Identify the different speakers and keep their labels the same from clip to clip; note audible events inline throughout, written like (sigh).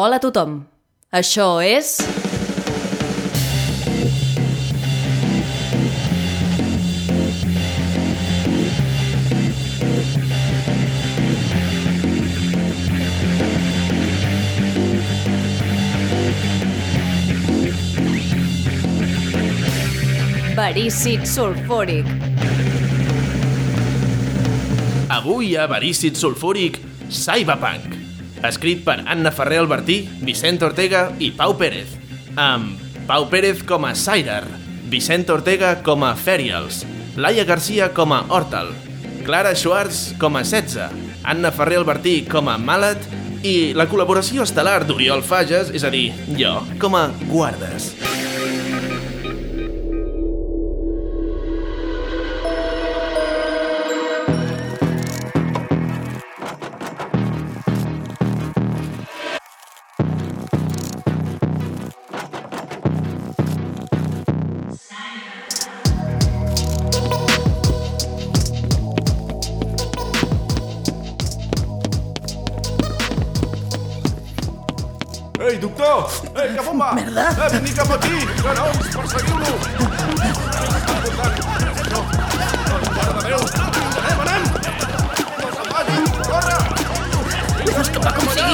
Speaker 1: Hola a tothom. Això és... Verícid sulfúric.
Speaker 2: Avui a Verícid Sulfúric, Cyberpunk. Escrit per Anna Ferrer Albertí, Vicent Ortega i Pau Pérez. Amb Pau Pérez com a Cyder, Vicent Ortega com a Ferials, Laia Garcia com a Hortal, Clara Schwartz com a 16, Anna Ferrer Albertí com a Malat i la col·laboració estel·lar d'Oriol Fages, és a dir, jo, com a Guardes.
Speaker 3: Ei, doctor! Ei, cap on va? Merda! Eh, vingui cap aquí! Granols, perseguiu-lo! Mare de Déu! Anem, anem! No se'n vagin! Corre!
Speaker 4: Va com sigui.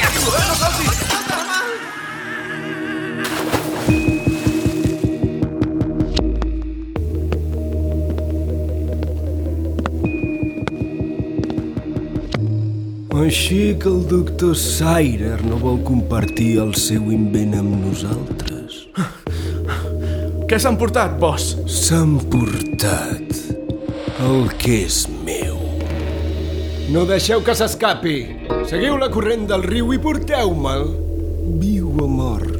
Speaker 3: Eh, no salti!
Speaker 5: Així que el doctor Sirer no vol compartir el seu invent amb nosaltres.
Speaker 2: Què s'han portat, boss?
Speaker 5: S'han portat el que és meu. No deixeu que s'escapi. Seguiu la corrent del riu i porteu-me'l. Viu o mort.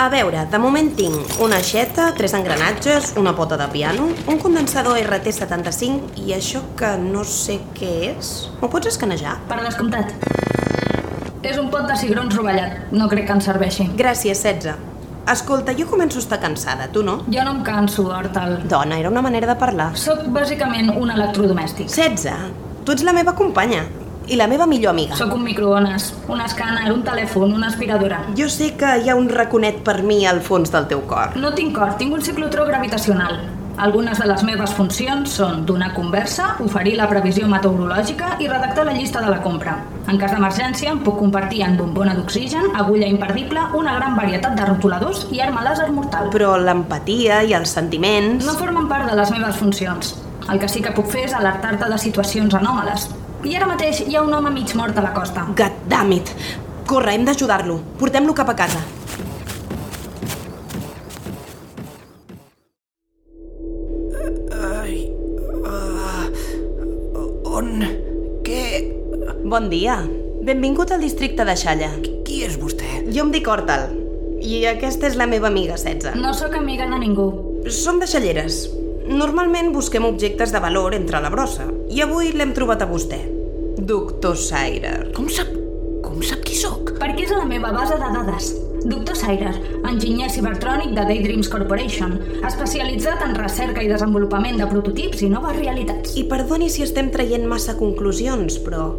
Speaker 6: A veure, de moment tinc una aixeta, tres engranatges, una pota de piano, un condensador RT75 i això que no sé què és. M'ho pots escanejar?
Speaker 4: Per descomptat. És un pot de cigrons rovellat. No crec que ens serveixi.
Speaker 6: Gràcies, 16. Escolta, jo començo a estar cansada, tu no?
Speaker 4: Jo no em canso, Hortal.
Speaker 6: Dona, era una manera de parlar.
Speaker 4: Soc bàsicament un electrodomèstic.
Speaker 6: 16. Tu ets la meva companya i la meva millor amiga.
Speaker 4: Soc un microones, un escàner, un telèfon, una aspiradora.
Speaker 6: Jo sé que hi ha un raconet per mi al fons del teu cor.
Speaker 4: No tinc cor, tinc un ciclotró gravitacional. Algunes de les meves funcions són donar conversa, oferir la previsió meteorològica i redactar la llista de la compra. En cas d'emergència, em puc convertir en bombona d'oxigen, agulla imperdible, una gran varietat de rotuladors i arma làser mortal.
Speaker 6: Però l'empatia i els sentiments...
Speaker 4: No formen part de les meves funcions. El que sí que puc fer és alertar-te de situacions anòmales. I ara mateix hi ha un home mig mort a la costa.
Speaker 6: God damn it! Corre, hem d'ajudar-lo. Portem-lo cap a casa.
Speaker 7: ah, On? Què?
Speaker 6: Bon dia. Benvingut al districte de Xalla.
Speaker 7: Qui és vostè?
Speaker 6: Jo em dic Hortal. I aquesta és la meva amiga, 16.
Speaker 4: No sóc amiga de ningú.
Speaker 6: Som de Xalleres. Normalment busquem objectes de valor entre la brossa. I avui l'hem trobat a vostè. Doctor Sirer.
Speaker 7: Com sap... com sap qui sóc?
Speaker 4: Perquè és a la meva base de dades. Dr. Sirer, enginyer cibertrònic de Daydreams Corporation, especialitzat en recerca i desenvolupament de prototips i noves realitats.
Speaker 6: I perdoni si estem traient massa conclusions, però...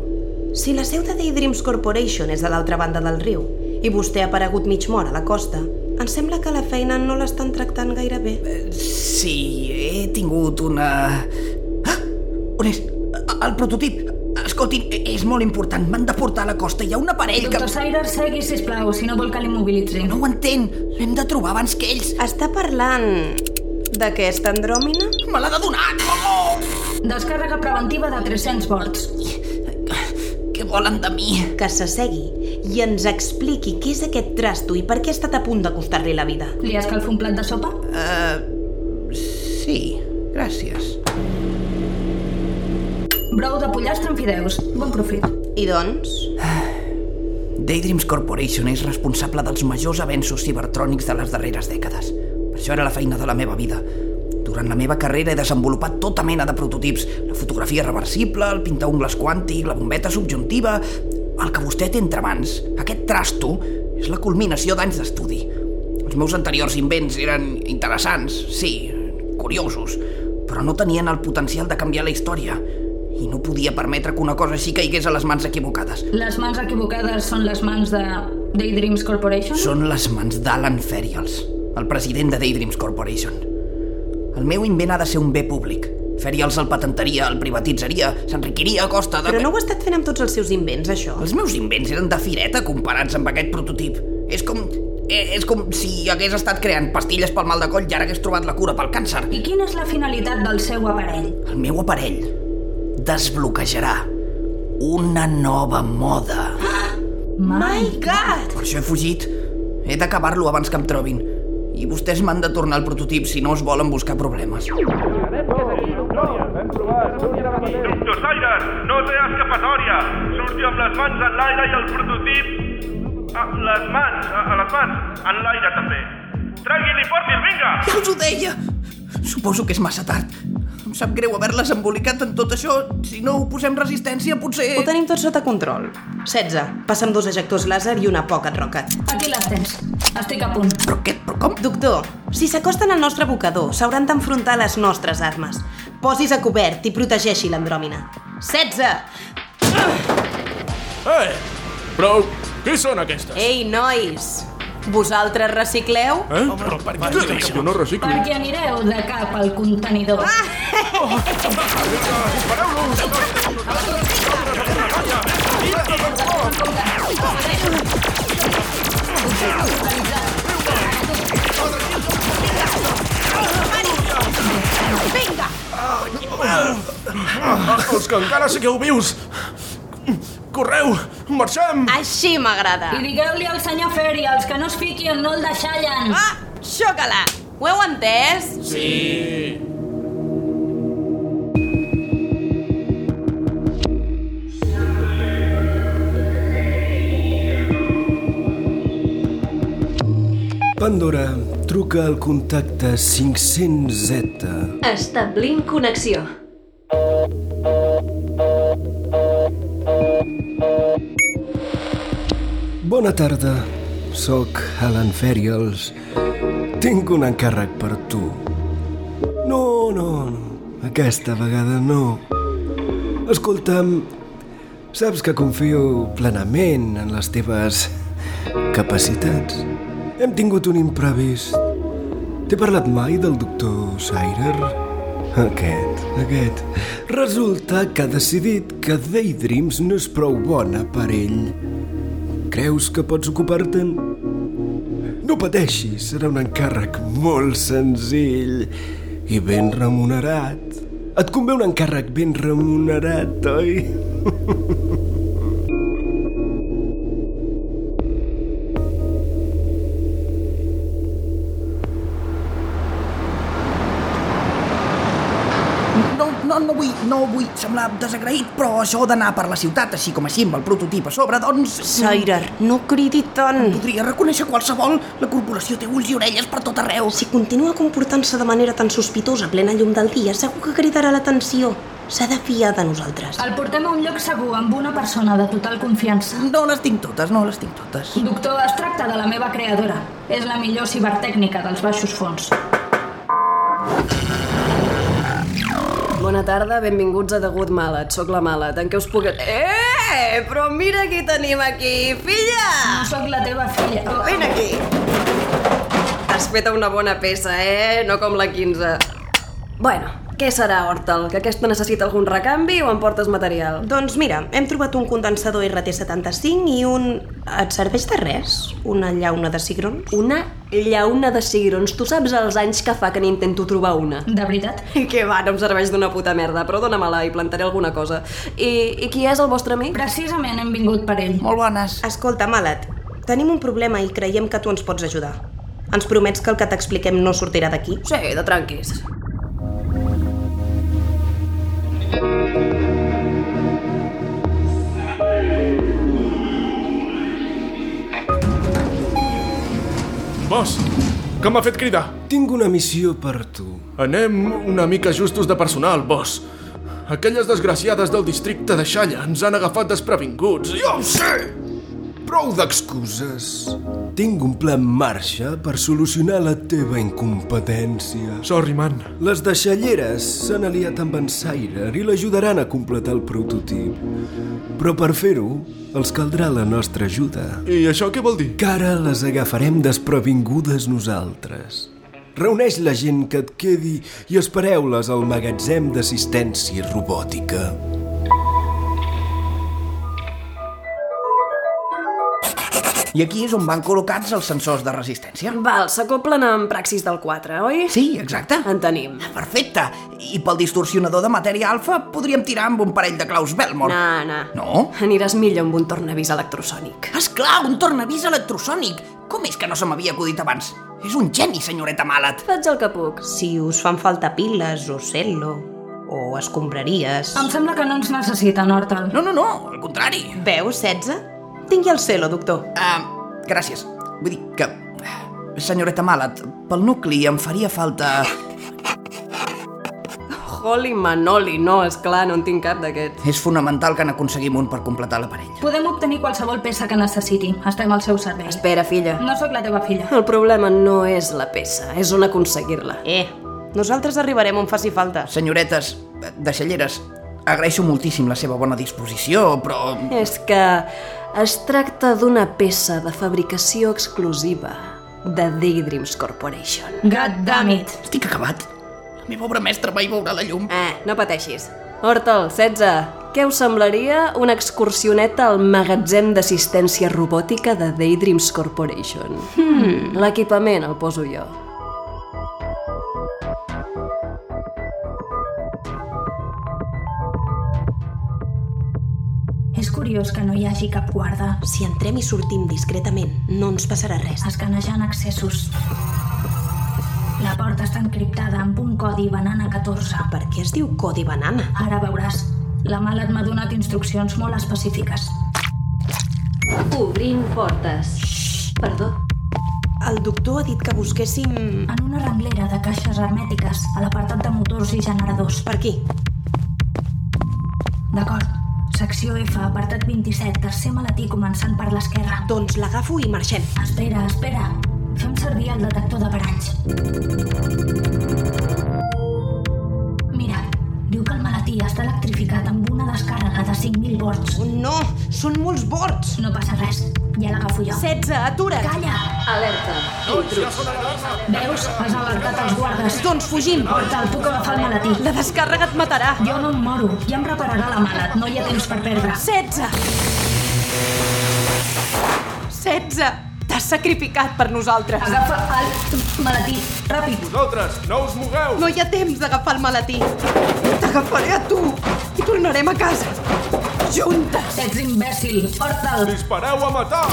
Speaker 6: Si la seu de Daydreams Corporation és a l'altra banda del riu i vostè ha aparegut mig mort a la costa, em sembla que la feina no l'estan tractant gaire bé.
Speaker 7: Sí, he tingut una... Ah! On és? A- El prototip! Escolti'm, e- és molt important. M'han de portar a la costa. Hi ha un aparell que...
Speaker 4: Dr. Sirer, segui, sisplau, si no vol que l'immobilitzi.
Speaker 7: No ho entén. L'hem de trobar abans que ells.
Speaker 6: Està parlant d'aquesta andròmina?
Speaker 7: Me l'ha de donar! Oh!
Speaker 4: Descàrrega preventiva de 300 volts.
Speaker 7: Què volen de mi?
Speaker 6: Que s'assegui i ens expliqui què és aquest trasto i per què ha estat a punt de costar-li la vida.
Speaker 4: Li escalfo un plat de sopa?
Speaker 7: Sí, gràcies.
Speaker 4: Brou de pollastre amb fideus. Bon profit.
Speaker 6: I doncs,
Speaker 7: Daydreams Corporation és responsable dels majors avenços cibertrònics de les darreres dècades. Per això era la feina de la meva vida. Durant la meva carrera he desenvolupat tota mena de prototips. La fotografia reversible, el pintaungles quàntic, la bombeta subjuntiva... El que vostè té entre mans, aquest trasto, És la culminació d'anys d'estudi. Els meus anteriors invents eren interessants, sí, curiosos, però no tenien el potencial de canviar la història i no podia permetre que una cosa així caigués a les mans equivocades.
Speaker 4: Les mans equivocades són les mans de Daydreams Corporation?
Speaker 7: Són les mans d'Alan Ferials, el president de Daydreams Corporation. El meu invent ha de ser un bé públic. Ferials el patentaria, el privatitzaria, s'enriquiria a costa de...
Speaker 6: Però no ho ha estat fent amb tots els seus invents, això.
Speaker 7: Els meus invents eren de fireta comparats amb aquest prototip. És com... eh, És com si hagués estat creant pastilles pel mal de coll i ara hagués trobat la cura pel càncer.
Speaker 4: I quina és la finalitat del seu aparell?
Speaker 7: El meu aparell desbloquejarà una nova moda.
Speaker 4: Mai?
Speaker 6: God!
Speaker 7: Per això he fugit. He d'acabar-lo abans que em trobin. I vostès m'han de tornar el prototip si no us volen buscar problemes.
Speaker 8: Doctor Saires, no té escapatòria. Surti amb les mans en l'aire i el prototip... A les mans, a, a les mans, en l'aire també. Tregui-li, porti'l, vinga!
Speaker 7: Ja us ho deia! Suposo que és massa tard. Em sap greu haver-les embolicat en tot això. Si no ho posem resistència, potser...
Speaker 6: Ho tenim tot sota control. 16. Passa amb dos ejectors làser i una pocket rocket.
Speaker 4: Aquí les tens. Estic a punt.
Speaker 7: Però què? Però com?
Speaker 6: Doctor, si s'acosten al nostre abocador, s'hauran d'enfrontar les nostres armes. Posis a cobert i protegeixi l'andròmina. 16!
Speaker 2: Eh! Però què són aquestes?
Speaker 6: Ei, nois! Vosaltres recicleu?
Speaker 3: Eh? Però per què jo dic que no reciclo?
Speaker 4: Perquè anireu de cap al contenidor. Ah!
Speaker 3: Els que encara sigueu vius! Correu! Marxem!
Speaker 6: Així m'agrada!
Speaker 4: I digueu-li al senyor Ferri, els que no es fiquin no el deixallen.
Speaker 6: Ah, xoca-la! Ho heu entès?
Speaker 2: Sí.
Speaker 5: Pandora, truca al contacte 500Z.
Speaker 9: Establint connexió.
Speaker 5: Bona tarda, sóc Alan Ferials. Tinc un encàrrec per tu. No, no, no, aquesta vegada no. Escolta'm, saps que confio plenament en les teves capacitats. Hem tingut un imprevist. T'he parlat mai del doctor Sirer? Aquest, aquest. Resulta que ha decidit que Daydreams no és prou bona per ell. Creus que pots ocupar-te'n? No pateixis, serà un encàrrec molt senzill i ben remunerat. Et convé un encàrrec ben remunerat, oi?
Speaker 7: No, no, no vull, no vull semblar desagraït, però això d'anar per la ciutat així com així amb el prototip a sobre, doncs...
Speaker 6: Sirer, no cridi tant.
Speaker 7: Podria reconèixer qualsevol. La corporació té ulls i orelles per tot arreu.
Speaker 6: Si continua comportant-se de manera tan sospitosa a plena llum del dia, segur que cridarà l'atenció. S'ha de fiar de nosaltres.
Speaker 4: El portem a un lloc segur amb una persona de total confiança.
Speaker 7: No les tinc totes, no les tinc totes.
Speaker 4: Doctor, es tracta de la meva creadora. És la millor cibertècnica dels baixos fons.
Speaker 7: Ah!
Speaker 10: Bona tarda, benvinguts a The Good Mallet. Soc la Mallet, en què us puc... Eh, però mira qui tenim aquí, filla!
Speaker 4: No sóc la teva filla. Oh,
Speaker 10: Vine aquí. Has fet una bona peça, eh? No com la 15. Bueno, què serà, Hortal? Que aquesta necessita algun recanvi o em portes material?
Speaker 6: Doncs mira, hem trobat un condensador RT75 i un... Et serveix de res? Una llauna de cigrons?
Speaker 10: Una llauna de cigrons. Tu saps els anys que fa que n'intento trobar una. (laughs)
Speaker 4: De veritat?
Speaker 10: Que va, no em serveix d'una puta merda, però dóna-me-la i plantaré alguna cosa. I, I qui és el vostre amic?
Speaker 4: Precisament hem vingut per ell.
Speaker 7: Molt bones.
Speaker 6: Escolta, Malat, tenim un problema i creiem que tu ens pots ajudar. Ens promets que el que t'expliquem no sortirà d'aquí?
Speaker 10: Sí, de tranquis.
Speaker 3: Boss, que m'ha fet cridar?
Speaker 5: Tinc una missió per tu.
Speaker 2: Anem una mica justos de personal, boss. Aquelles desgraciades del districte de Xalla ens han agafat desprevinguts. Jo ho sé!
Speaker 5: Prou d'excuses. Tinc un pla en marxa per solucionar la teva incompetència. Sorry, man. Les deixalleres s'han aliat amb en Sirer i l'ajudaran a completar el prototip. Però per fer-ho, els caldrà la nostra ajuda. I això què vol dir? Que ara les agafarem desprevingudes nosaltres. Reuneix la gent que et quedi i espereu-les al magatzem d'assistència robòtica.
Speaker 7: I aquí és on van col·locats els sensors de resistència.
Speaker 10: Val, s'acoplen amb praxis del 4, oi?
Speaker 7: Sí, exacte.
Speaker 10: En tenim.
Speaker 7: Perfecte. I pel distorsionador de matèria alfa podríem tirar amb un parell de claus Belmore.
Speaker 10: Na, na.
Speaker 7: No?
Speaker 10: Aniràs millor amb un tornavís electrosònic.
Speaker 7: És clar, un tornavís electrosònic. Com és que no se m'havia acudit abans? És un geni, senyoreta Malat.
Speaker 10: Faig el que puc.
Speaker 6: Si us fan falta piles o cel·lo o escombraries...
Speaker 4: Em sembla que no ens necessiten, Hortal.
Speaker 7: No, no, no, al contrari.
Speaker 6: Veus, 16? Tingui el cel·lo, doctor.
Speaker 7: Uh, gràcies. Vull dir que... Senyoreta Malat, pel nucli em faria falta...
Speaker 10: Holy manoli, no, és clar, no en tinc cap d'aquests.
Speaker 7: És fonamental que n'aconseguim un per completar l'aparell.
Speaker 4: Podem obtenir qualsevol peça que necessiti. Estem al seu servei.
Speaker 10: Espera, filla.
Speaker 4: No sóc la teva filla.
Speaker 10: El problema no és la peça, és on aconseguir-la.
Speaker 6: Eh, nosaltres arribarem on faci falta.
Speaker 7: Senyoretes, eh, deixalleres, agraeixo moltíssim la seva bona disposició, però...
Speaker 10: És que es tracta d'una peça de fabricació exclusiva de Daydreams Corporation.
Speaker 4: God damn it.
Speaker 7: Estic acabat. La meva obra mestra mai veurà la llum.
Speaker 10: Eh, no pateixis. Hortal, 16. Què us semblaria una excursioneta al magatzem d'assistència robòtica de Daydreams Corporation? Hmm. L'equipament el poso jo.
Speaker 4: És curiós que no hi hagi cap guarda.
Speaker 6: Si entrem i sortim discretament, no ens passarà res.
Speaker 4: Escanejant accessos. La porta està encriptada amb un codi banana 14.
Speaker 6: Per què es diu Codi Banana?
Speaker 4: Ara veuràs. La Malat m'ha donat instruccions molt específiques.
Speaker 9: Obrint portes. Perdó.
Speaker 6: El doctor ha dit que busquéssim...
Speaker 4: En una renglera de caixes hermètiques a l'apartat de motors i generadors.
Speaker 6: Per aquí.
Speaker 4: D'acord. Secció F, apartat 27, tercer maletí començant per l'esquerra.
Speaker 6: Doncs l'agafo i marxem.
Speaker 4: Espera, espera. Fem servir el detector de paranys. Mira, diu que el maletí està electrificat amb una descàrrega de 5.000 volts.
Speaker 6: Oh, no! Són molts bords!
Speaker 4: No passa res, ja l'agafo jo.
Speaker 6: 16, atura't!
Speaker 4: Calla!
Speaker 9: Alerta. Intruts.
Speaker 4: Veus? Has alertat els guardes.
Speaker 6: Doncs fugim!
Speaker 4: Portal, puc agafar el maletí.
Speaker 6: La descàrrega et matarà!
Speaker 4: Jo no em moro, ja em repararà la malet, no hi ha temps per perdre.
Speaker 6: 16! 16! T'has sacrificat per nosaltres!
Speaker 4: Agafa el maletí, ràpid.
Speaker 3: Vosaltres, no us mogueu!
Speaker 6: No hi ha temps d'agafar el maletí! T'agafaré a tu! I tornarem a casa! Juntes!
Speaker 4: Ets imbècil, Hortal.
Speaker 3: Dispareu a matar!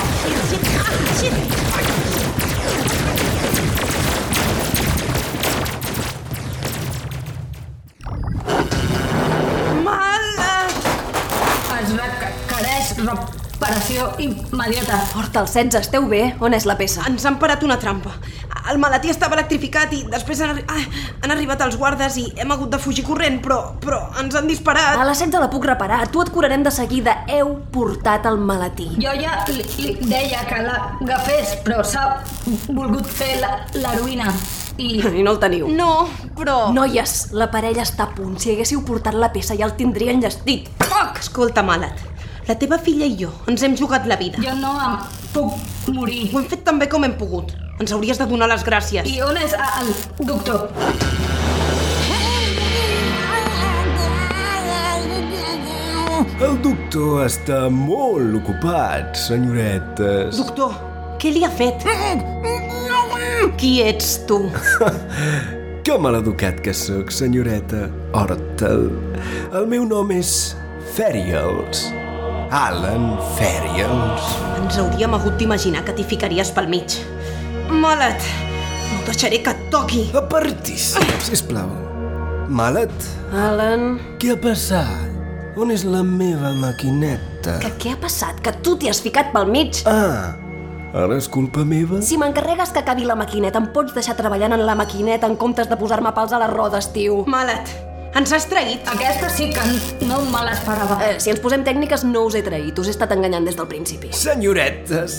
Speaker 6: Mala!
Speaker 4: Es requereix reparació immediata.
Speaker 10: Hortal, 16, esteu bé? On és la peça?
Speaker 6: Ens han parat una trampa. El maletí estava electrificat i després han, arri ah, han arribat els guardes i hem hagut de fugir corrent, però, però ens han disparat.
Speaker 10: A les 16 la puc reparar, tu et curarem de seguida. Heu portat el maletí.
Speaker 4: Jo ja li, li deia que l'agafés, però s'ha volgut fer la- l'heroïna. I
Speaker 10: I no el teniu.
Speaker 6: No, però...
Speaker 10: Noies, la parella està a punt. Si haguéssiu portat la peça ja el tindria enllestit.
Speaker 6: Foc! Escolta, Malat, la teva filla i jo ens hem jugat la vida.
Speaker 4: jo no em puc morir.
Speaker 6: Ho hem fet també com hem pogut. Ens hauries de donar les gràcies.
Speaker 4: I on és a- el doctor?
Speaker 5: El doctor està molt ocupat, senyoretes.
Speaker 6: Doctor, què li ha fet? Qui ets tu?
Speaker 5: Que maleducat que sóc, senyoreta Hortel. El meu nom és Ferials. Alan Ferials.
Speaker 6: Ens hauríem hagut d'imaginar que t'hi ficaries pel mig. Mala't, no deixaré que et toqui.
Speaker 5: Apartis, sisplau. Malet,
Speaker 10: Alan,
Speaker 5: què ha passat? On és la meva maquineta?
Speaker 10: que què ha passat? Que tu t'hi has ficat pel mig?
Speaker 5: Ah, ara és culpa meva?
Speaker 10: Si m'encarregues que acabi la maquineta, em pots deixar treballant en la maquineta en comptes de posar-me pals a les rodes, tio.
Speaker 6: Mala't, Ens has traït.
Speaker 4: Aquesta sí que no me l'esperava.
Speaker 10: Eh, si ens posem tècniques, no us he traït. Us he estat enganyant des del principi.
Speaker 5: Senyoretes,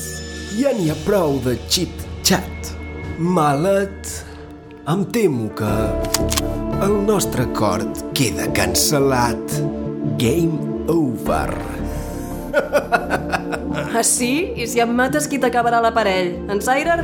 Speaker 5: ja n'hi ha prou de xit-xat. Malet, em temo que el nostre acord queda cancel·lat. Game over.
Speaker 10: Ah, sí? I si em mates, qui t'acabarà l'aparell? En Sirer?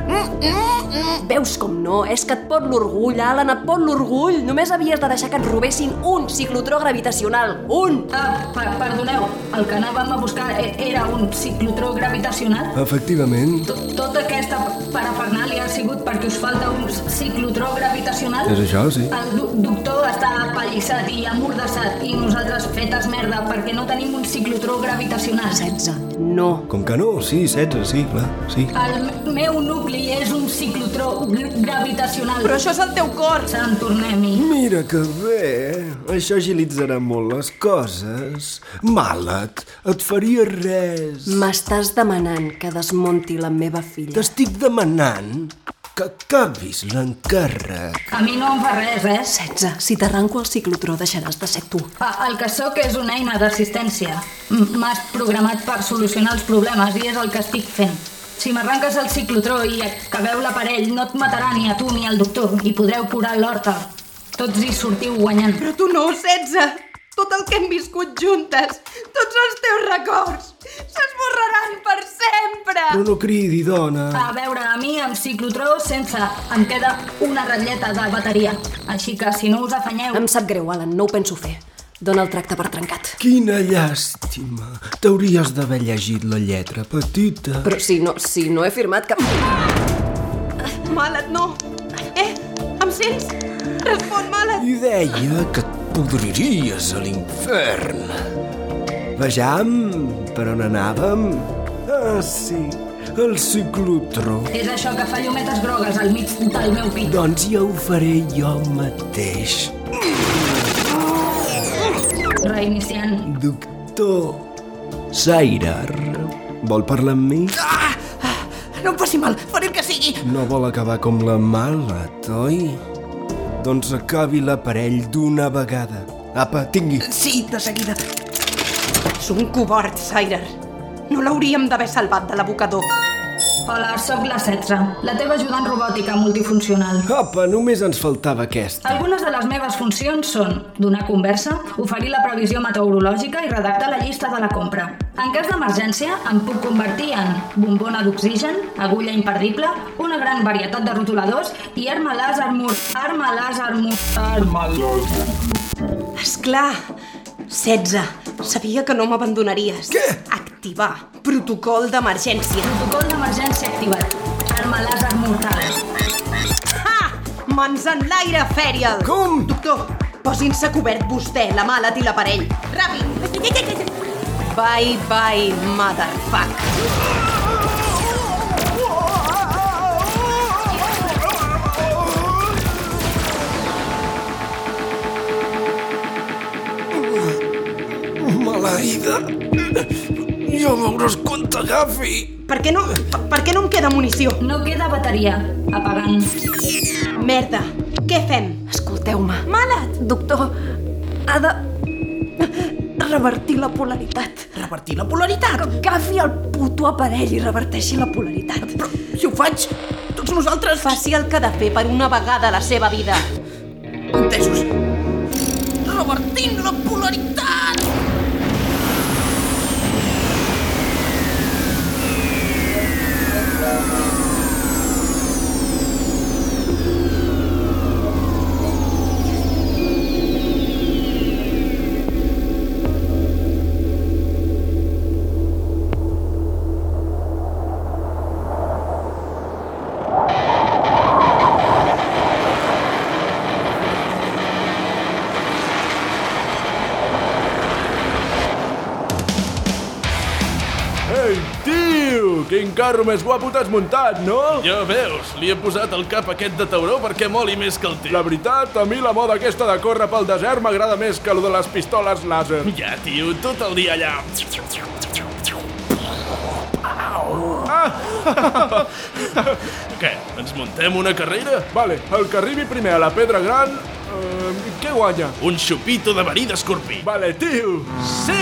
Speaker 10: Veus com no? És que et pot l'orgull, Alan, et pot l'orgull. Només havies de deixar que et robessin un ciclotró gravitacional. Un!
Speaker 4: Ah, per perdoneu, el que anàvem a buscar e- era un ciclotró gravitacional?
Speaker 5: Efectivament,
Speaker 4: To- Tota aquesta parafernàlia ha sigut perquè us falta un ciclotró gravitacional?
Speaker 5: És això, sí.
Speaker 4: El do- doctor està apallissat i amordassat i nosaltres fetes merda perquè no tenim un ciclotró gravitacional.
Speaker 10: 16. No.
Speaker 5: com que no, sí, 16, sí, clar, sí.
Speaker 4: El m- meu nucli és un ciclotró gr- gravitacional.
Speaker 11: Però això és el teu cor.
Speaker 4: Sant tornem-hi.
Speaker 5: Mira que bé, això agilitzarà molt les coses. Malet, et faria res.
Speaker 10: M'estàs demanant que desmonti la meva filla.
Speaker 5: T'estic demanant que acabis l'encàrrec.
Speaker 4: A mi no em fa res, eh?
Speaker 10: 16. Si t'arranco el ciclotró, deixaràs de ser tu.
Speaker 4: A- El que sóc és una eina d'assistència. M- M'has programat per solucionar els problemes i és el que estic fent. Si m'arranques el ciclotró i acabeu l'aparell, no et matarà ni a tu ni al doctor i podreu curar l'horta. Tots hi sortiu guanyant.
Speaker 11: Però tu no, 16. Tot el que hem viscut juntes, tots els teus records, s'esborraran per sempre.
Speaker 5: Però no cridi, dona.
Speaker 4: A veure, a mi amb ciclotró sense em queda una ratlleta de bateria. Així que si no us afanyeu...
Speaker 10: Em sap greu, Alan, no ho penso fer. Dóna el tracte per trencat.
Speaker 5: Quina llàstima. T'hauries d'haver llegit la lletra petita.
Speaker 10: Però si no, si no he firmat cap...
Speaker 11: Mala't, no. Eh, em sents? Respon, Mala't.
Speaker 5: I deia que et podries a l'infern. Vejam per on anàvem. Ah, sí, el ciclotró.
Speaker 4: És això que fa llumetes grogues al mig del meu pit.
Speaker 5: Doncs ja ho faré jo mateix.
Speaker 4: Reiniciant.
Speaker 5: Doctor Sairar, vol parlar amb mi?
Speaker 7: No em faci mal, faré el que sigui.
Speaker 5: No vol acabar com la mala, oi? Doncs acabi l'aparell d'una vegada. Apa, tingui.
Speaker 7: Sí, de seguida.
Speaker 11: Ets un covard, Sirer. No l'hauríem d'haver salvat de l'abocador.
Speaker 4: Hola, sóc la 16, la teva ajudant robòtica multifuncional.
Speaker 5: Apa, només ens faltava aquesta.
Speaker 4: Algunes de les meves funcions són donar conversa, oferir la previsió meteorològica i redactar la llista de la compra. En cas d'emergència, em puc convertir en bombona d'oxigen, agulla imperdible, una gran varietat de rotuladors i arma làser mur... arma làser mur... arma làser...
Speaker 6: És clar. 16. Sabia que no m'abandonaries. Què? Activar. Protocol d'emergència.
Speaker 4: Protocol d'emergència activat. Arma làser mortal.
Speaker 11: Ha! Mans en l'aire, Ferial.
Speaker 5: Com?
Speaker 11: Doctor, posin-se cobert vostè, la malet i l'aparell. Ràpid. Bye, bye, motherfuck.
Speaker 5: Maleïda. Jo veuràs quan t'agafi.
Speaker 11: Per què no... Per, per què no em queda munició?
Speaker 4: No queda bateria. Apagant.
Speaker 11: Merda. Què fem?
Speaker 10: Escolteu-me.
Speaker 11: Malet!
Speaker 10: Doctor, ha de... revertir la polaritat.
Speaker 7: Revertir la polaritat.
Speaker 10: Agafi el puto aparell i reverteixi la polaritat.
Speaker 7: Però si ho faig, tots nosaltres...
Speaker 11: Faci el que ha de fer per una vegada a la seva vida.
Speaker 7: Entesos. Revertint la polaritat!
Speaker 3: Ei, tio! Quin carro més guapo t'has muntat, no?
Speaker 2: Ja veus, li he posat el cap aquest de tauró perquè moli més que el teu.
Speaker 3: La veritat, a mi la moda aquesta de córrer pel desert m'agrada més que lo de les pistoles làser.
Speaker 2: Ja, tio, tot el dia allà. Au.
Speaker 3: Ah! (laughs)
Speaker 2: Què? Ens muntem una carrera?
Speaker 3: Vale, el que arribi primer a la pedra gran... Eh, què guanya?
Speaker 2: Un xupito de verí d'escorpí.
Speaker 3: Vale, tio!
Speaker 2: Sí!